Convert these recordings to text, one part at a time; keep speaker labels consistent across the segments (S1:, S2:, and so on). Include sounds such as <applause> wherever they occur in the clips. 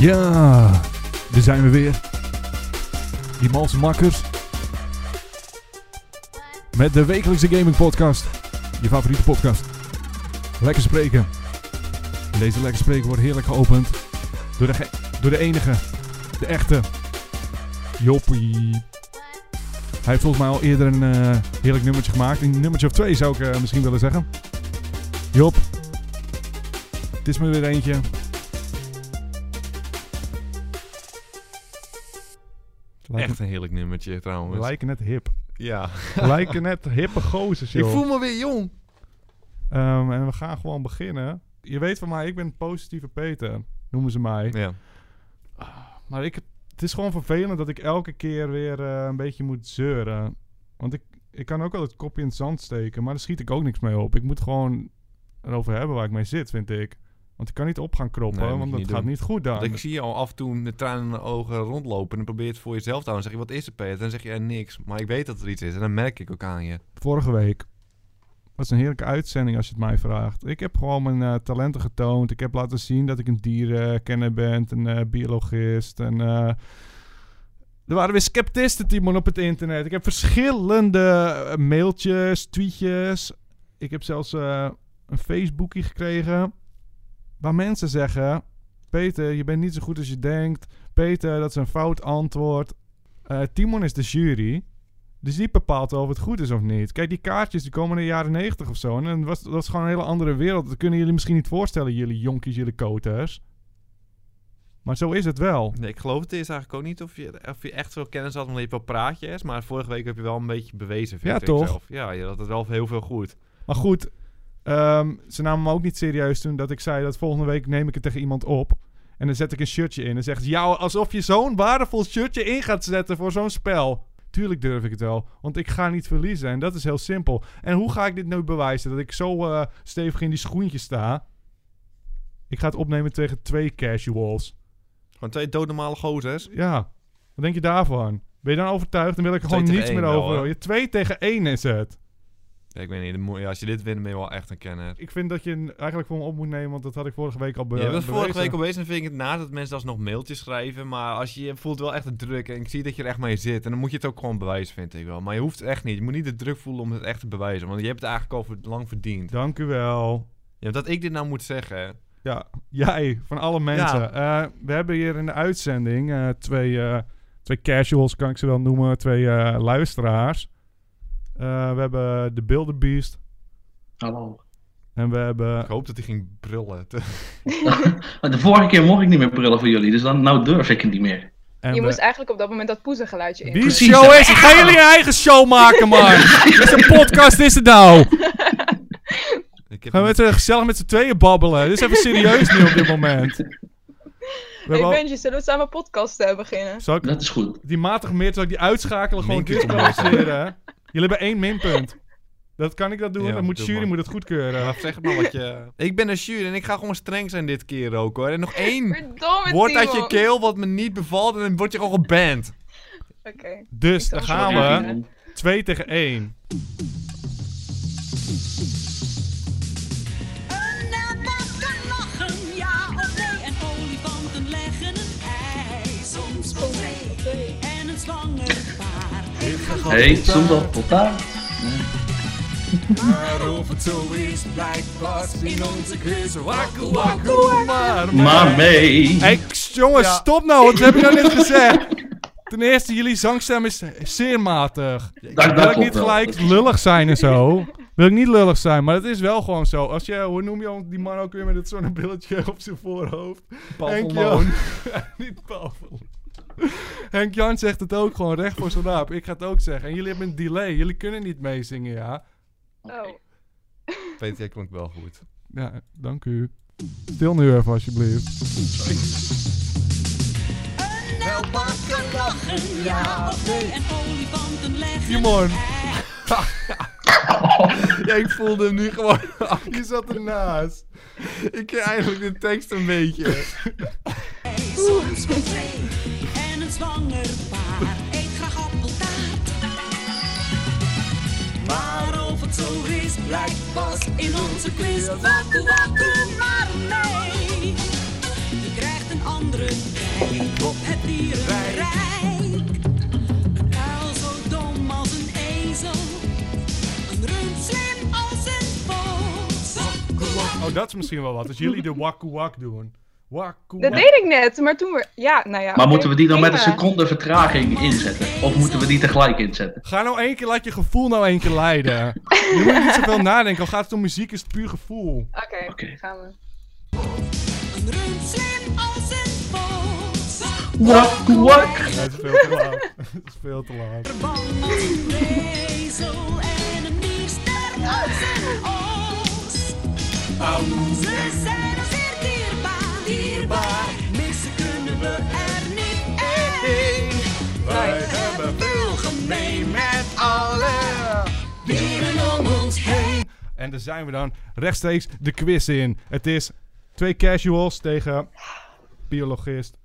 S1: Ja, daar zijn we weer. Die malse makkers. Met de wekelijkse gaming podcast. Je favoriete podcast. Lekker spreken. Deze lekker spreken wordt heerlijk geopend. Door de, ge- door de enige. De echte. Joppie. Hij heeft volgens mij al eerder een eh, heerlijk nummertje gemaakt. Een nummertje of twee zou ik eh, misschien willen zeggen. Job. Het is me weer eentje.
S2: Echt een heerlijk nummertje trouwens.
S1: Lijken net hip.
S2: Ja.
S1: Lijken net hippe gozers,
S2: Ik
S1: joh.
S2: voel me weer jong.
S1: Ehm, en we gaan gewoon beginnen. Je weet van mij, ik ben positieve Peter, noemen ze mij. Ah,
S2: Ja.
S1: Maar ik, het is gewoon vervelend dat ik elke keer weer eh, een beetje moet zeuren. Want ik, ik kan ook wel het kopje in het zand steken, maar daar schiet ik ook niks mee op. Ik moet gewoon erover hebben waar ik mee zit, vind ik. Want ik kan niet op gaan kroppen,
S2: Nee, moet je
S1: want
S2: niet
S1: dat gaat
S2: doen.
S1: niet goed dan.
S2: Want ik zie je al af en toe met tranen in de ogen rondlopen. En dan probeer je het voor jezelf te houden. Dan zeg je, wat is er Peter? En dan zeg je, eh, niks. Maar ik weet dat er iets is. En dan merk ik ook aan je.
S1: vorige week. was een heerlijke uitzending als je het mij vraagt. Ik heb gewoon mijn eh, talenten getoond. Ik heb laten zien dat ik een dierenkenner ben, een eh, biologist. En, eh, er waren weer sceptisten, Timon, op het internet. Ik heb verschillende eh, mailtjes, tweetjes. Ik heb zelfs eh, een Facebookie gekregen. Waar mensen zeggen... Peter, je bent niet zo goed als je denkt. Peter, dat is een fout antwoord. Eh, Timon is de jury. Dus die bepaalt wel of het goed is of niet. Kijk, die kaartjes die komen in de jaren 90 of zo. En dan was, dat was gewoon een hele andere wereld. Dat kunnen jullie misschien niet voorstellen, jullie jonkies, jullie koters. Maar zo is het wel.
S2: Nee, ik geloof het is eigenlijk ook niet of je, of je echt veel kennis had. Omdat je wel praatjes. Maar vorige week heb je wel een beetje bewezen, vind
S1: Ja,
S2: ik
S1: toch?
S2: zelf. Ja, je had het wel heel veel goed.
S1: Maar goed, ehm, ze namen me ook niet serieus toen dat ik zei dat volgende week neem ik het tegen iemand op. En dan zet ik een shirtje in. En zegt ze, ja, alsof je zo'n waardevol shirtje in gaat zetten voor zo'n spel. Tuurlijk durf ik het wel, want ik ga niet verliezen. En dat is heel simpel. En hoe ga ik dit nu bewijzen? Dat ik zo eh, stevig in die schoentjes sta. Ik ga het opnemen tegen twee casuals.
S2: Gewoon twee doodnormale gozers.
S1: Ja, wat denk je daarvan? Ben je dan overtuigd? Dan wil ik er
S2: Twee
S1: gewoon niets
S2: tegen
S1: meer
S2: één wel,
S1: over.
S2: hoor.
S1: horen. twee tegen één is het.
S2: Ja, ik weet niet. dan moet je- Als je dit wint, ben je wel echt een kenner.
S1: Ik vind dat je een- eigenlijk voor me op moet nemen, want dat had ik vorige week al be
S2: Je was
S1: bewezen.
S2: vorige week al bezig en vind ik het na dat mensen alsnog mailtjes schrijven. Maar als je, je voelt wel echt de druk en ik zie dat je er echt mee zit. En dan moet je het ook gewoon bewijzen, vind ik wel. Maar je hoeft het echt niet. Je moet niet de druk voelen om het echt te bewijzen. Want je hebt het eigenlijk al ver- lang verdiend.
S1: Dank u wel.
S2: Ja, dat ik dit nou moet zeggen.
S1: Ja, jij, van alle mensen. Eh, we hebben hier in de uitzending eh, twee, eh, twee casuals, kan ik ze wel noemen. Twee eh, luisteraars. Eh, we hebben de Bilderbeest
S3: Hallo.
S1: en we hebben...
S2: Ik hoop dat hij ging brullen. <laughs>
S3: Maar Ah, de vorige keer mocht ik niet meer brullen voor jullie, dus dan nou durf ik het niet meer.
S1: En
S4: je
S1: we-
S4: moest eigenlijk op dat moment dat poezengeluidje in.
S1: Die
S3: Precies,
S1: show
S3: hè?
S1: is het.
S2: <laughs>
S1: Gaan jullie je eigen show maken, man. Wat een podcast is het nou?
S2: Ik heb
S1: Gaan we met z'n- gezellig met z'n tweeën babbelen. Dit is even serieus nu op dit moment. We
S4: Hey
S1: hebben al-
S4: Benji, zullen we samen podcast eh, beginnen?
S1: Zal ik-
S3: Dat is goed.
S1: Die matig meer, terwijl ik die uitschakelen gewoon
S2: Minpunt
S1: disqualificeren. hè? Jullie hebben één minpunt. Dat kan ik dat doen,
S2: Ja,
S1: dan moet de
S2: doe
S1: jury
S2: maar.
S1: moet het goedkeuren.
S2: Ja, zeg het maar wat je... Ik ben een jury en ik ga gewoon streng zijn dit keer ook hoor. En nog één
S4: Verdomme
S2: woord uit
S4: Timon.
S2: Hm. je keel wat me niet bevalt en dan word je gewoon geband.
S4: Oké.
S1: Dus,
S4: Ik
S1: daar
S4: zal het
S3: Sorry,
S1: gaan we.
S3: Timon.
S1: Twee tegen één.
S5: Een napak kan lachen, ja of nee. En olifanten leggen een ei, soms wel twee. En een slangenpaar. Ik ga gewoon
S3: Hey, soms al tot daar.
S5: in onze quiz.
S2: Wakku, wakku, maar...
S3: Maar mee.
S1: Hey, kst, jongens, stop nou, wat heb ik nou net gezegd? Ten eerste, jullie zangstem is zeer matig. wil
S3: dat
S1: ik
S3: klopt
S1: niet
S3: wel.
S1: gelijk
S3: Dat-
S1: lullig zijn en zo. Wil ik niet lullig zijn, maar het is wel gewoon zo. Als je, hoe noem je die man ook weer met het zonnebilletje op zijn voorhoofd? Henk Jan. <laughs> Niet Paul. van Loon. Henk Jan zegt het ook gewoon recht voor zijn raap. Ik ga het ook zeggen. En jullie hebben een delay. Jullie kunnen niet meezingen, ja.
S4: Oh.
S2: Peter, jij klonk wel goed.
S1: Ja, dank u. Stil nu even alsjeblieft.
S5: Een napak kan lachen, ja of nee. En olifanten leggen
S1: Timon.
S5: een ei.
S2: Ja, ik voelde hem nu <laughs> gewoon.
S1: Je zat ernaast.
S2: ik ken eigenlijk de tekst een beetje.
S5: soms met twee. En een zwanger paar eet graag appeltaart. Maar of het zo is, blijkt pas in onze quiz. Waku waku maar mee. Je krijgt een andere kijk op het dierenrijk. Een uil zo dom als een ezel. Een rund slim als een vos. Waku waku.
S1: Oh, dat is misschien wel wat. Als jullie de wakku wak doen. Wakku
S4: Dat deed ik net, maar toen we... Ja, nou ja.
S3: Maar
S4: oké,
S3: moeten we die dan met een
S4: prima.
S3: seconde vertraging inzetten? Of moeten we die tegelijk inzetten?
S1: Ga nou één keer, laat je gevoel nou één keer leiden. Je moet niet zoveel nadenken. Al gaat het om muziek, is het puur gevoel.
S4: Oké,
S3: Oké.
S4: gaan
S1: Oh,
S4: we.
S5: Een rund slim als een vos.
S3: Wak, wak.
S1: Ja, het is veel te laat. <laughs> Het is veel te laat.
S5: Bang als een ezel en een meester als een os. Ze zijn ons zeer dierbaar, dierbaar. Missen kunnen we er niet één. Wij hebben veel gemeen met alle dieren om ons heen.
S1: En daar zijn we dan rechtstreeks de quiz in. Het is twee casuals tegen biologist.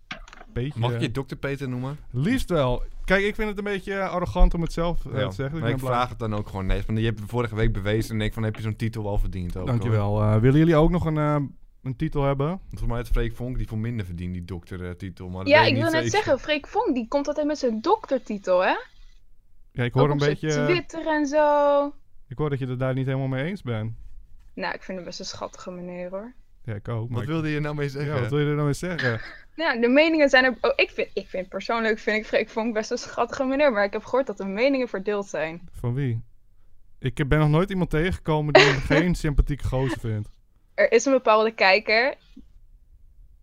S1: Beetje.
S2: Mag ik je dokter Peter noemen?
S1: Liefst wel. Kijk, ik vind het een beetje arrogant om het zelf eh,
S2: Ja,
S1: te zeggen.
S2: maar
S1: ben
S2: ik
S1: blij-
S2: vraag het dan ook gewoon nee. Want je hebt het vorige week bewezen en ik van heb je zo'n titel al verdiend ook. hoor.
S1: Dankjewel. Eh, willen jullie ook nog een, eh, een titel hebben?
S2: Volgens mij heeft Freek Vonk die voor minder verdient, die doktertitel. maar dat
S4: Ja,
S2: weet
S4: ik
S2: niet
S4: wil net
S2: zeker.
S4: zeggen, Freek Vonk, die komt altijd met zijn doktertitel, hè?
S1: Ja, ik hoor
S4: Ook
S1: een
S4: op zijn
S1: beetje. eh,
S4: Twitter en zo.
S1: Ik hoor dat je het daar niet helemaal mee eens bent.
S4: Nou, ik vind hem best een schattige meneer, hoor.
S1: Ja, ik ook. Maar
S2: Wat
S1: ik-
S2: wilde je nou mee zeggen?
S1: ja, wat wil je er nou mee zeggen?
S4: Nou, de meningen zijn er... Oh, ik vind, ik vind persoonlijk, vind ik Freek Vonk best een schattige meneer. Maar ik heb gehoord dat de meningen verdeeld zijn.
S1: Van wie? Ik eh, ben nog nooit iemand tegengekomen die hem geen sympathieke gozer vindt.
S4: Er is een bepaalde kijker.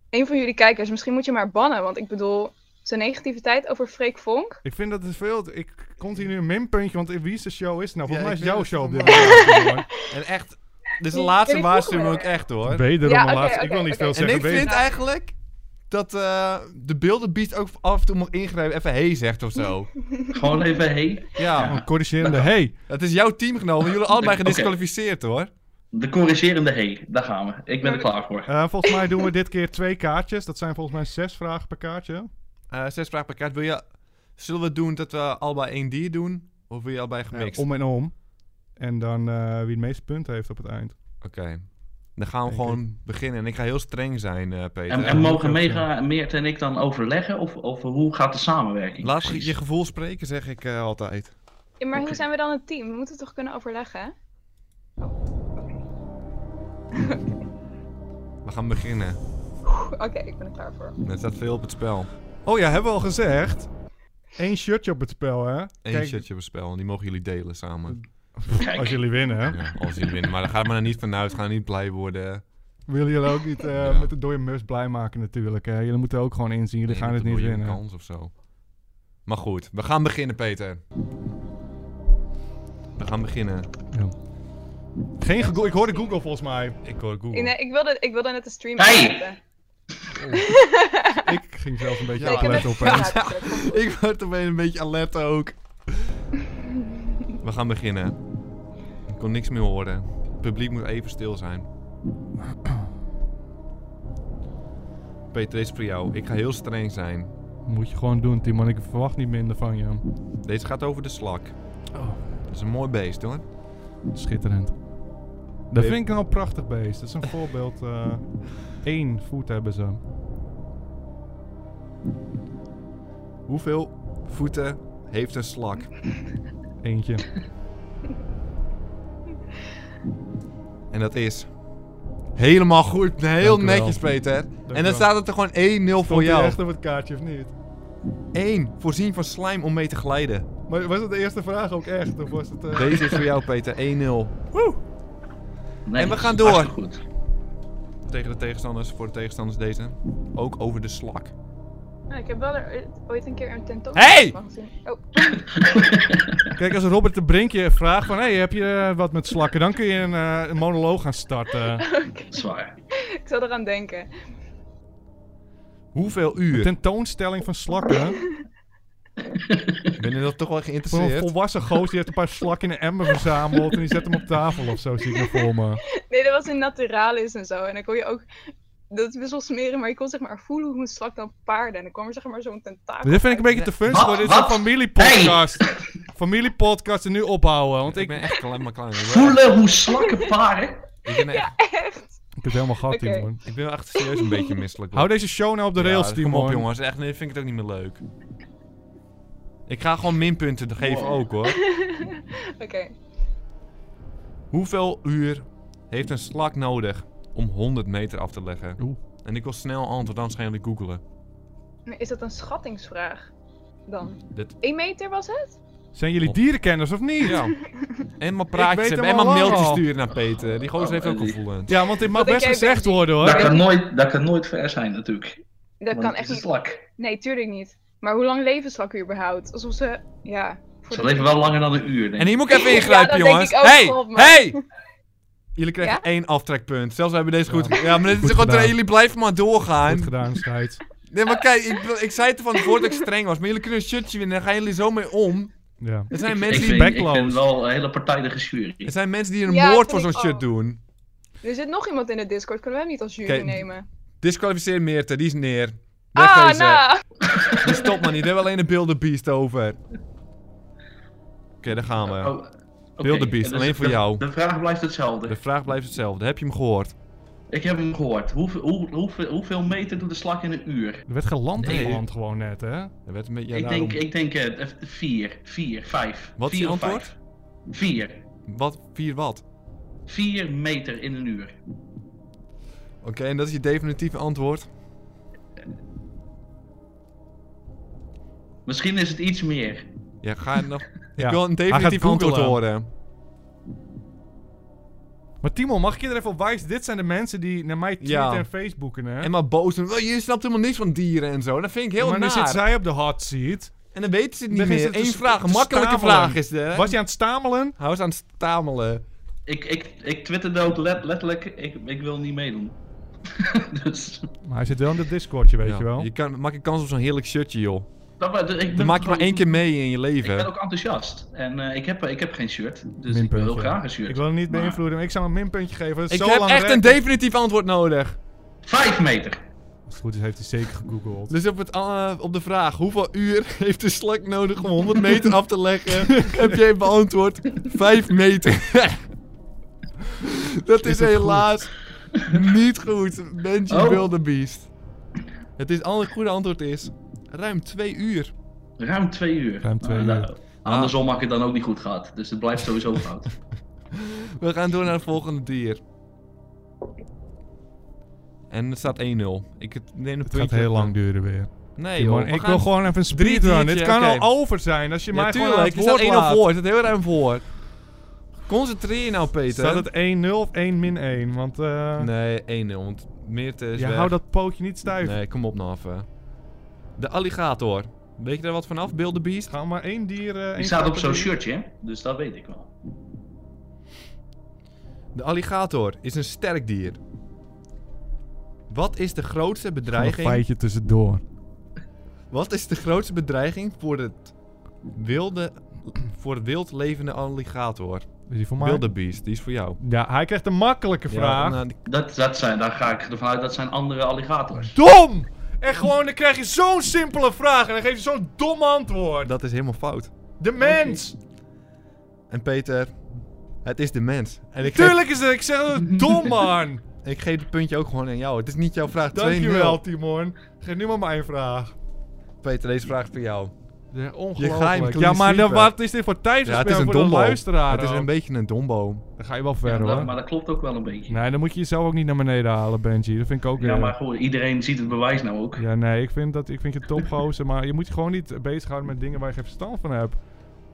S4: Een van jullie kijkers, misschien moet je maar bannen. Want ik bedoel, zijn negativiteit over Freek Vonk.
S1: Ik vind dat het veel. te- Ik continu een minpuntje, want wie is de show is het nou?
S2: Ja,
S1: Volgens mij is
S2: ik
S1: het jouw
S2: vind
S1: show op
S2: het
S1: dit moment.
S2: <laughs>
S1: jongen.
S2: En echt, dit is de
S4: Die
S2: laatste
S4: ken ik
S2: waarschuwing ook
S4: vroeger.
S2: echt hoor.
S1: Wederom
S4: Ja,
S1: een
S4: oké,
S1: laatste.
S4: oké,
S1: ik wil niet
S4: oké.
S1: veel
S4: En
S2: En
S1: zeggen.
S2: ik vind
S1: weder-
S2: eigenlijk dat eh, de beeldenbeat ook af en toe mag ingrijpen. Even hey zegt of zo.
S4: <laughs>
S3: Gewoon even hey.
S2: Ja,
S1: Een Oh, corrigerende. Hey,
S2: het is jouw team genomen. Jullie <laughs> allebei
S3: Oké.
S2: gedisqualificeerd hoor.
S3: De corrigerende hey. Daar gaan we. Ik ben er klaar voor.
S1: Eh, volgens mij doen we dit keer twee kaartjes. Dat zijn volgens mij zes vragen per kaartje.
S2: Eh, zes vragen per kaart. Wil je, zullen we het doen dat we allebei één dier doen? Of wil je allebei
S1: Eh,
S2: gemixt?
S1: om en om. En dan eh, wie het meeste punten heeft op het eind.
S2: Oké. Dan gaan we
S1: Denk
S2: gewoon beginnen. En ik ga heel streng zijn, eh, Peter.
S3: En, en mogen Mega, Meert en ik dan overleggen? Of, of hoe gaat de samenwerking?
S2: Laat
S3: precies?
S2: je gevoel spreken, zeg ik eh, altijd.
S4: Ja, maar
S3: Oké.
S4: hoe zijn we dan een team? We moeten toch kunnen overleggen, hè?
S2: We gaan beginnen.
S4: Oké, ik ben er klaar voor.
S2: Er staat veel op het spel.
S1: Oh ja, hebben we al gezegd. Eén shirtje op het spel, hè?
S2: Eén
S1: Kijk,
S2: shirtje op het spel. En die mogen jullie delen samen.
S3: Kijk,
S1: Als jullie winnen, hè?
S2: Ja, als jullie winnen. Maar daar gaan we er niet vanuit. Gaan niet blij worden.
S1: Willen jullie ook niet eh,
S2: Ja.
S1: met de dode mus blij maken natuurlijk. Hè? Jullie moeten ook gewoon inzien, jullie
S2: Nee,
S1: gaan
S2: dat
S1: het niet
S2: wil je een
S1: winnen.
S2: kans of zo. Maar goed, we gaan beginnen, Peter. We gaan beginnen.
S1: Geen Google, ik hoorde Google volgens mij.
S2: Ik hoor Google.
S4: Ik, nee, ik, wilde, ik wilde net de stream
S3: Hey!
S4: afzetten.
S1: ik ging zelf een beetje
S2: Ja,
S1: ja,
S4: ik heb
S1: opletten
S4: net
S1: op hè.
S4: de stream uitgezet.
S2: <laughs> Ik word opeens een beetje alert ook. We gaan beginnen. Ik kon niks meer horen. Het publiek moet even stil zijn. <clears throat> Peter, deze is voor jou. Ik ga heel streng zijn.
S1: Moet je gewoon doen, Timon. Ik verwacht niet minder van je.
S2: Deze gaat over de slak.
S1: Oh.
S2: Dat is een mooi beest hoor.
S1: Schitterend. Dat
S2: Weet-
S1: vind ik nou een prachtig beest. Dat is een voorbeeld. eh één voet hebben ze.
S2: Hoeveel voeten heeft een slak?
S4: <laughs>
S1: Eentje.
S2: En dat is. Helemaal goed. Heel
S1: Dank u wel.
S2: netjes, Peter. en
S1: wel.
S2: dan staat het er gewoon 1-0 voor
S1: Stond die
S2: jou.
S1: echt op het kaartje of niet?
S2: 1. Voorzien van slime om mee te glijden.
S1: Maar was dat de eerste vraag ook echt? Of was het... eh,
S2: Deze is voor jou, Peter. 1-0.
S3: nee,
S2: en we gaan
S3: dat is
S2: door.
S3: hartstikke Goed.
S2: Tegen de tegenstanders, voor de tegenstanders deze. Ook over de slak.
S4: Ja, ik heb wel er ooit een keer een
S2: Hey!
S4: tentoonstelling van gezien. Oh,
S1: Kijk, als Robert de Brink je vraagt van... Hey, heb je eh, wat met slakken? Dan kun je een, eh, een monoloog gaan
S4: <laughs>
S1: starten.
S3: Zwaar.
S4: ik zal eraan denken.
S2: Hoeveel uur?
S1: Tentoonstelling van slakken.
S2: Ik ben er nog toch
S1: Voor
S2: wel
S1: een
S2: geïnteresseerd.
S1: volwassen gozer die heeft een paar slak in een emmer verzameld en die zet hem op tafel of zo, zie ik er voor me.
S4: Nee, dat was in Naturalis en zo. En dan kon je ook... Dat is best wel smeren, maar je kon zeg maar voelen hoe een slak dan paarden. En dan kwam er zeg maar zo'n tentakel
S1: Dit vind ik een
S4: uit.
S1: beetje te fun
S3: Wat?
S1: voor. Dit is een
S3: Wat?
S1: familiepodcast. Familiepodcast en nu ophouden, want
S2: Want ik
S1: ik...
S2: ben echt alleen maar klein. Ik ben echt-
S3: Voelen hoe slakken paren.
S2: ik ben echt-
S4: <laughs> Echt?
S1: Ik heb het helemaal gehad,
S4: Oké.
S1: hier, man.
S2: ik ben wel echt serieus een beetje misselijk.
S1: Hou deze show nou op de rails,
S2: Ja, dus Kom op
S1: Timon.
S2: jongens, echt, nee, vind ik het ook niet meer leuk. Ik ga gewoon minpunten geven
S3: Wow.
S2: ook hoor.
S4: Oké.
S2: Hoeveel uur heeft een slak nodig om 100 meter af te leggen?
S1: Oeh.
S2: En ik wil snel antwoord, anders gaan jullie googelen.
S4: Maar Is dat een schattingsvraag dan?
S2: Dit-
S4: 1 meter was het?
S1: Zijn jullie dierenkenners of niet?
S2: Ja. En maar
S1: Ik weet
S2: praatjes hebben,
S1: hem
S2: en maar
S1: al
S2: mailtjes
S1: lang.
S2: sturen naar Peter. Die gozer
S3: Oh,
S2: heeft ook
S3: Ellie.
S2: gevoelens.
S1: Ja, want dit mag
S4: Wat denk
S1: best
S4: jij,
S1: gezegd
S4: Benji?
S1: worden,
S2: Oh,
S3: Dat
S1: hoor.
S3: kan nooit, dat kan nooit ver zijn natuurlijk.
S4: Dat
S3: Want
S4: kan
S3: het
S4: echt
S3: is
S4: niet.
S3: een slak.
S4: Nee, tuurlijk niet. Maar hoe lang leven slakken überhaupt? Alsof ze. Ja. Voor
S3: Ze
S4: de-
S3: leven wel langer dan een uur, denk
S2: En
S3: ik.
S2: hier moet ik even
S4: Ja,
S2: ingrijpen,
S4: dat denk
S2: jongens.
S4: ik ook,
S2: hey,
S4: stop maar.
S2: hey! Jullie krijgen
S4: Ja?
S2: één aftrekpunt. Zelfs hebben deze goed. Ja, maar dit
S1: Goed
S2: is gewoon.
S1: gedaan.
S2: Jullie blijven maar doorgaan.
S1: Goed gedaan, scheids.
S2: Nee, maar kijk, ik, ik zei het van tevoren dat ik streng was. Maar jullie kunnen een shirtje winnen. Daar gaan jullie zo mee om.
S1: Ja.
S2: Er zijn
S3: ik,
S2: mensen die
S3: vind, ik
S1: backloos.
S3: ben wel een hele partijdige
S2: Er
S3: jury.
S2: zijn mensen die een
S4: Ja,
S2: moord voor
S4: vind
S2: zo'n
S4: ik
S2: shit
S4: ook.
S2: doen.
S4: Er zit nog iemand in de Discord, kunnen we hem niet als jury
S2: Oké.
S4: nemen?
S2: Disqualificeer Meerte, die is neer.
S4: Ah,
S2: Wegwezen.
S4: nou!
S2: Die stopt maar niet, daar hebben we alleen de Build the Beast over. Oké, daar gaan we.
S3: Oh, oké. dus
S2: Wilde beest, alleen voor
S3: de,
S2: jou.
S3: De vraag blijft
S2: De
S3: hetzelfde.
S2: vraag blijft hetzelfde. Heb je hem gehoord?
S3: Ik heb hem gehoord. Hoeveel, hoe, hoeveel, hoeveel meter doet de slak in een uur?
S1: Er werd geland in
S3: Nee.
S1: Holland gewoon net, hè?
S2: Er werd een beetje, ja,
S3: ik,
S2: daarom-
S3: denk, ik denk eh, eh, vier, vier, vijf.
S2: Wat is
S3: vier
S2: je
S3: of
S2: antwoord?
S3: vijf. Vier.
S2: Wat? Vier wat?
S3: Vier meter in een uur.
S2: Oké, en dat is je definitieve antwoord?
S3: Misschien is het iets meer.
S2: Ja, ga je
S1: <laughs>
S2: nog...
S1: Ja,
S2: Ik wil een
S1: hij gaat
S2: definitief antwoord
S1: googlen.
S2: horen.
S1: Maar Timon, mag ik je er even op wijzen? Dit zijn de mensen die naar mij tweeten
S2: Ja.
S1: en Facebooken, hè?
S2: En maar boos doen. "Wel, Je snapt helemaal niks van dieren en zo. Dat vind ik heel
S1: maar nu
S2: naar.
S1: zit zij op de hot seat.
S2: En dan weten ze het niet
S1: Dan is
S2: meer.
S1: het een
S2: Eén
S1: s-
S2: vraag, een
S1: te
S2: makkelijke
S1: stamelen.
S2: vraag is de.
S1: Was je aan het stamelen?
S2: Hou eens aan het stamelen.
S3: Ik, ik, ik twitterde ook let- letterlijk, ik, ik wil niet meedoen. <laughs> dus, <laughs>
S1: Maar hij zit wel in de Discordje, weet
S2: Ja,
S1: je wel.
S2: Je kan, maak je kans op zo'n heerlijk shirtje, joh.
S3: dat, maar- dus ik
S2: Dan maak je
S3: ben
S2: maar
S3: gewoon-
S2: één keer mee in je
S3: Ik ben
S2: leven.
S3: ook enthousiast. En eh, ik, heb, ik heb geen shirt, dus ik wil
S1: Minpuntje.
S3: heel graag een shirt.
S1: Ik wil hem niet
S3: Maar-
S1: beïnvloeden, maar ik zou hem een minpuntje geven. Dat is
S2: Ik
S1: zo
S2: heb
S1: lang
S2: echt een
S1: werken.
S2: definitief antwoord nodig.
S3: Vijf meter!
S1: Als het goed is, heeft hij zeker gegoogeld.
S2: Dus op, het, eh, op de vraag, hoeveel uur <laughs> heeft de slak nodig om 100 meter af te leggen?
S1: <laughs>
S2: heb jij beantwoord, 5 meter. dat is,
S1: het goed?
S2: helaas niet goed. Benji
S3: Oh.
S2: Wildebeest. Het is, het goede antwoord is, ruim 2 uur.
S3: Ruim twee uur.
S1: Ruim twee
S3: Ah,
S1: uur.
S3: nou, andersom had ik het dan ook niet goed gehad. Dus het blijft
S1: <laughs>
S3: sowieso fout.
S2: We gaan door naar het volgende dier. En het staat 1-0. Ik het- neem een
S1: Het gaat
S2: puntje.
S1: heel lang duren weer.
S2: Nee
S1: Timon,
S2: hoor, we
S1: ik
S2: gaan-
S1: wil gewoon even een
S2: Drie
S1: speedrun. Dit
S2: diertje,
S1: kan
S2: oké.
S1: al over zijn als je
S2: Ja,
S1: mij gewoon aan
S2: tuurlijk.
S1: het
S2: Er staat
S1: woord
S2: 1-0 voor.
S1: laat.
S2: Er staat heel ruim voor. Concentreer je nou, Peter.
S1: Staat het 1-0 of 1 min 1? Want eh
S2: Nee, 1-0. Want Meerte is
S1: je
S2: weg.
S1: houdt dat pootje niet stijf.
S2: Nee, kom op nou even. De alligator. Weet je daar wat vanaf, Bill the Beast?
S1: Ga maar één dier... eh, één
S3: Ik sta op zo'n
S1: categorie.
S3: shirtje, hè? dus dat weet ik wel.
S2: De alligator is een sterk dier. Wat is de grootste
S1: Nog Een
S2: bedreiging...
S1: feitje tussendoor.
S2: Wat is de grootste bedreiging voor het wilde... Voor het wild levende alligator?
S1: Is die voor mij?
S2: Bill the Beast, die is voor jou.
S1: Ja, hij krijgt een makkelijke vraag.
S2: Ja, nou, die-
S3: Dat, dat zijn, daar ga ik ervan uit, dat zijn andere alligators.
S1: Dom! En gewoon, dan krijg je zo'n simpele vraag en dan geef je zo'n dom antwoord.
S2: dat is helemaal fout.
S1: De mens!
S2: En Peter, het is de mens. En ik geef,
S1: Tuurlijk is dat, ik zeg dat het dom, <laughs> man.
S2: ik geef het puntje ook gewoon aan jou. Het is niet jouw vraag 2-0.
S1: Dankjewel, Timon. Geef nu maar mijn vraag.
S2: Peter, deze vraag is voor jou.
S1: Ja,
S2: ga hem
S1: ongelooflijk.
S2: doen
S1: Ja, maar dan,
S2: sleepen.
S1: wat is dit voor
S2: Ja,
S1: tijdverspil
S2: het is een
S1: voor de
S2: dombo.
S1: luisteraar?
S2: Het is
S1: ook?
S2: een beetje een dombo.
S1: Dan ga je wel
S3: Ja,
S1: verder,
S3: dat,
S1: hoor.
S3: maar dat klopt ook wel een beetje.
S1: Nee, dan moet je jezelf ook niet naar beneden halen, Benji. Dat vind ik ook...
S3: ja,
S1: eh,
S3: maar goed, iedereen ziet het bewijs nou ook.
S1: Ja, nee, ik vind, dat, ik vind je topgozer, maar je moet je gewoon niet bezighouden met dingen waar je geen verstand van hebt.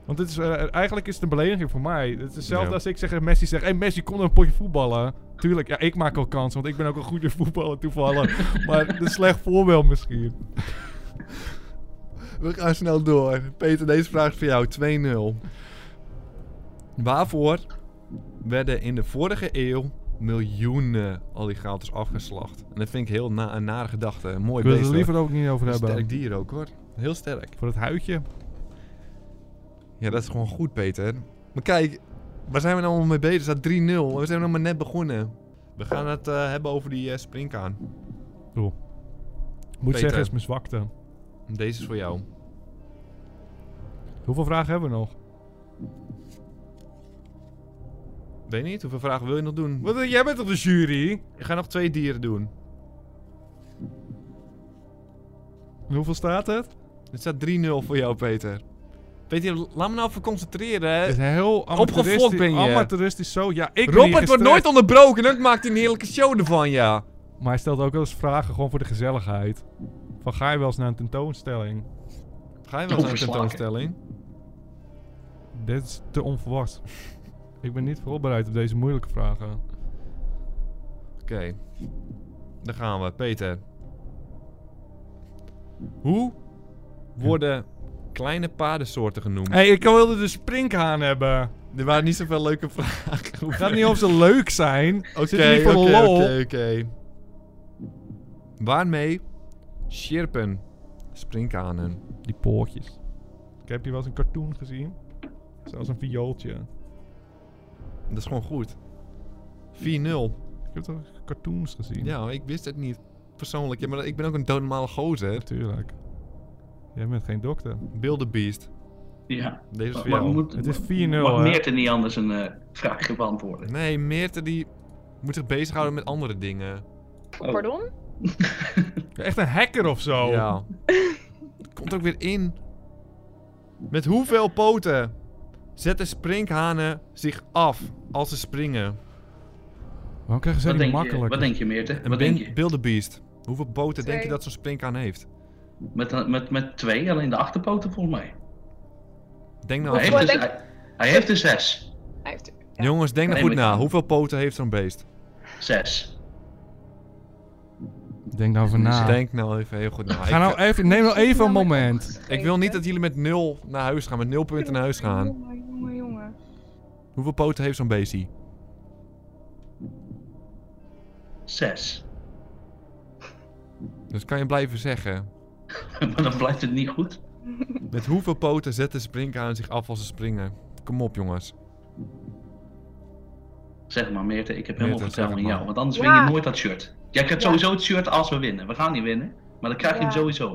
S1: Want dit is, eh, eigenlijk is het een belediging voor mij. Het is hetzelfde
S2: Ja.
S1: als ik zeg, eh, Messi zegt, hey Messi, kom dan een potje voetballen. Tuurlijk, ja, ik maak ook kansen, want ik ben ook een goede <laughs> voetballer toevallig. maar het is een slecht voorbeeld misschien.
S2: We gaan snel door. Peter, deze vraag is voor jou. 2-0. Waarvoor werden in de vorige eeuw miljoenen alligators afgeslacht? En dat vind ik heel na een nare gedachte. Een mooi
S1: Ik wil het
S2: beest.
S1: er
S2: hoor.
S1: liever ook niet over
S2: Een
S1: hebben.
S2: sterk dier ook hoor. Heel sterk.
S1: Voor het huidje.
S2: Ja, dat is gewoon goed, Peter. Maar kijk, waar zijn we nou allemaal mee bezig? Er staat 3-0. en We zijn nog maar net begonnen. We gaan het eh, hebben over die eh, springkaan.
S1: Moet
S2: Peter.
S1: zeggen, is mijn zwakte.
S2: Deze is voor jou.
S1: Hoeveel vragen hebben we nog?
S2: Weet niet, hoeveel vragen wil je nog doen? Wat, eh, jij bent op de jury? Ik ga nog twee dieren doen.
S1: En hoeveel staat het?
S2: Het staat 3-0 voor jou, Peter. Peter, laat me nou even concentreren. hè.
S1: Het is heel
S2: Opgefokt
S1: amateuristisch.
S2: ben je.
S1: Amateuristisch zo. Ja, ik ben hier
S2: Robert wordt
S1: gestrest.
S2: nooit onderbroken en dat maakt een heerlijke show ervan, ja.
S1: Maar hij stelt ook wel eens vragen gewoon voor de gezelligheid. Van ga je wel eens naar een tentoonstelling?
S2: Ga je wel naar een
S3: Overslakken.
S2: tentoonstelling?
S1: Dit is te <laughs> onverwacht. ik ben niet voorbereid op deze moeilijke vragen.
S2: Oké. Daar gaan we, Peter. Hoe worden kleine paardensoorten genoemd?
S1: Hé, hey, ik wilde de springhaan hebben.
S2: Er waren niet zoveel leuke <laughs> vragen.
S1: Het gaat niet of ze leuk zijn.
S2: Oké,
S1: Zit hier
S2: oké,
S1: voor de
S2: oké,
S1: lol.
S2: oké. Waarmee sjerpen springkanen?
S1: Die poortjes. Ik heb die wel eens een cartoon gezien. Zelfs een viooltje.
S2: Dat is gewoon goed. 4-0.
S1: Ik heb toch cartoons gezien?
S2: Ja, ik wist het niet persoonlijk. Ja, maar ik ben ook een doodnormale gozer.
S1: Natuurlijk. Jij bent geen dokter.
S2: Beast.
S3: Ja.
S2: Deze is
S3: Maar-
S2: voor
S3: maar
S2: jou.
S3: moet,
S1: Het is 4-0,
S3: mag
S1: hè?
S3: Meerte niet anders een eh, vraagje beantwoorden?
S2: Nee, Meerte die moet zich bezighouden met andere dingen.
S3: Oh. <laughs>
S4: Pardon?
S1: Echt een hacker of zo.
S2: Ja. Komt ook weer in. Met hoeveel poten zetten sprinkhanen zich af als ze springen?
S1: Waarom krijgen ze
S3: Wat
S1: die
S3: denk, je,
S1: makkelijk?
S3: wat denk je, Meerte?
S2: En
S3: Wat denk je?
S2: Beast. Hoeveel poten denk je
S4: Twee.
S2: dat zo'n sprinkhaan heeft?
S3: Met, met, met twee, alleen de achterpoten volgens mij.
S2: Denk nou
S3: Hij
S2: even.
S3: heeft, dus,
S4: Oh, denk-
S3: hij, hij heeft een zes.
S4: Hij heeft ja.
S2: Jongens, denk nou
S3: Nee,
S2: goed
S3: maar-
S2: na. Hoeveel poten heeft zo'n beest?
S3: Zes.
S1: Denk nou van na.
S2: Denk nou even heel goed na.
S1: Ga nou
S2: ik,
S1: even, neem nou even een moment.
S2: ik wil niet dat jullie met nul naar huis gaan, met nul punten naar huis gaan.
S4: Jongen, jongen, jongen.
S2: Hoeveel poten heeft zo'n beestie?
S3: Zes. <laughs>
S2: Dus kan je blijven zeggen.
S3: maar dan blijft het niet goed.
S2: Met hoeveel poten zetten sprinkhanen zich af als ze springen? Kom op, jongens.
S3: Zeg maar, Meerte, ik heb helemaal
S2: Meerte,
S3: vertrouwen
S2: zeg
S3: in
S2: maar.
S3: jou. Want anders
S4: Ja.
S3: win je nooit dat shirt. Jij krijgt
S4: Ja.
S3: sowieso het shirt als we winnen. We gaan niet winnen. Maar dan krijg je
S4: Ja.
S3: hem
S1: Ik
S3: sowieso.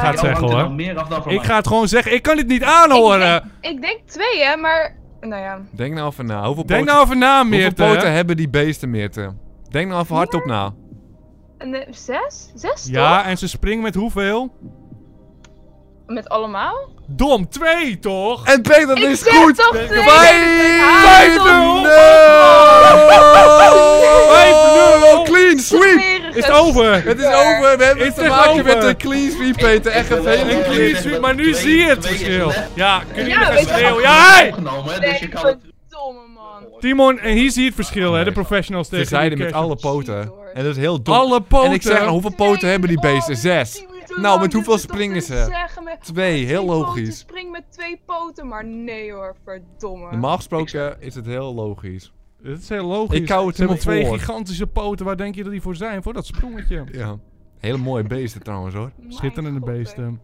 S1: ga het
S3: Jou
S1: zeggen
S3: hangt er
S1: hoor.
S3: nou meer af dan van
S1: Ik
S3: mij.
S1: ga het gewoon zeggen. Ik kan dit niet aanhoren.
S4: Ik denk, ik denk twee, hè, maar... Nou ja.
S2: Denk nou even na. Hoeveel
S1: Denk
S2: poten...
S1: nou even na, Meerte.
S2: Hoeveel poten hebben die beesten, Meerte? Denk nou even hardop na.
S4: En, eh, zes? Zes,
S1: Ja, en ze springen met hoeveel?
S4: toch? Met allemaal?
S1: Dom, twee toch?
S2: En Peter, dat
S4: Ik
S2: is
S4: zeg
S2: goed!
S4: toch twee?
S2: Vijf- 5-0!
S4: Tom.
S1: 5-0.
S2: Clean sweep!
S4: Smerige
S1: Is het over?
S2: Het is over, we hebben
S1: Is
S2: het te
S1: het
S2: maken
S1: over?
S2: met een clean sweep, Peter. Echt een
S3: Ik- ik-
S1: Een
S2: hele clean
S3: ik-
S1: clean
S2: sweep.
S1: sweep, maar nu
S3: Twee-
S1: zie je het
S3: twee is
S1: verschil.
S3: slecht.
S1: Ja, kun je
S4: Ja,
S1: met gaan
S4: weet je-
S1: schreeuwen? Ja, hey!
S3: Opgenomen, hè, dus je kan het...
S4: Verdomme, man.
S1: Timon, en hier zie je het verschil, hè? De
S2: Nee.
S1: professionals
S2: Ze
S1: tegen
S2: zeiden
S1: de
S2: met
S1: casuals.
S2: alle poten.
S4: hoor.
S2: En dat is heel dom.
S1: Alle poten.
S2: En ik zeg, nou, hoeveel poten hebben die
S4: Twee,
S2: beesten?
S4: oh,
S2: Zes.
S4: tien minuten
S2: Nou,
S4: lang
S2: met hoeveel
S4: zit ik dus dat
S2: springen
S4: te
S2: ze?
S4: zeggen met-
S2: Twee, heel
S4: Twee poten,
S2: logisch.
S4: Spring met twee poten, maar nee hoor, verdomme.
S2: Normaal gesproken is het heel logisch.
S1: Dat is heel logisch.
S2: Ik hou het
S1: Ze hebben
S2: helemaal
S1: twee
S2: voor.
S1: gigantische poten. Waar denk je dat die voor zijn? Voor dat sprongetje.
S2: Ja. Hele mooie beesten trouwens hoor.
S4: Mijn
S1: Schitterende
S4: god, hè. <laughs>
S1: beesten.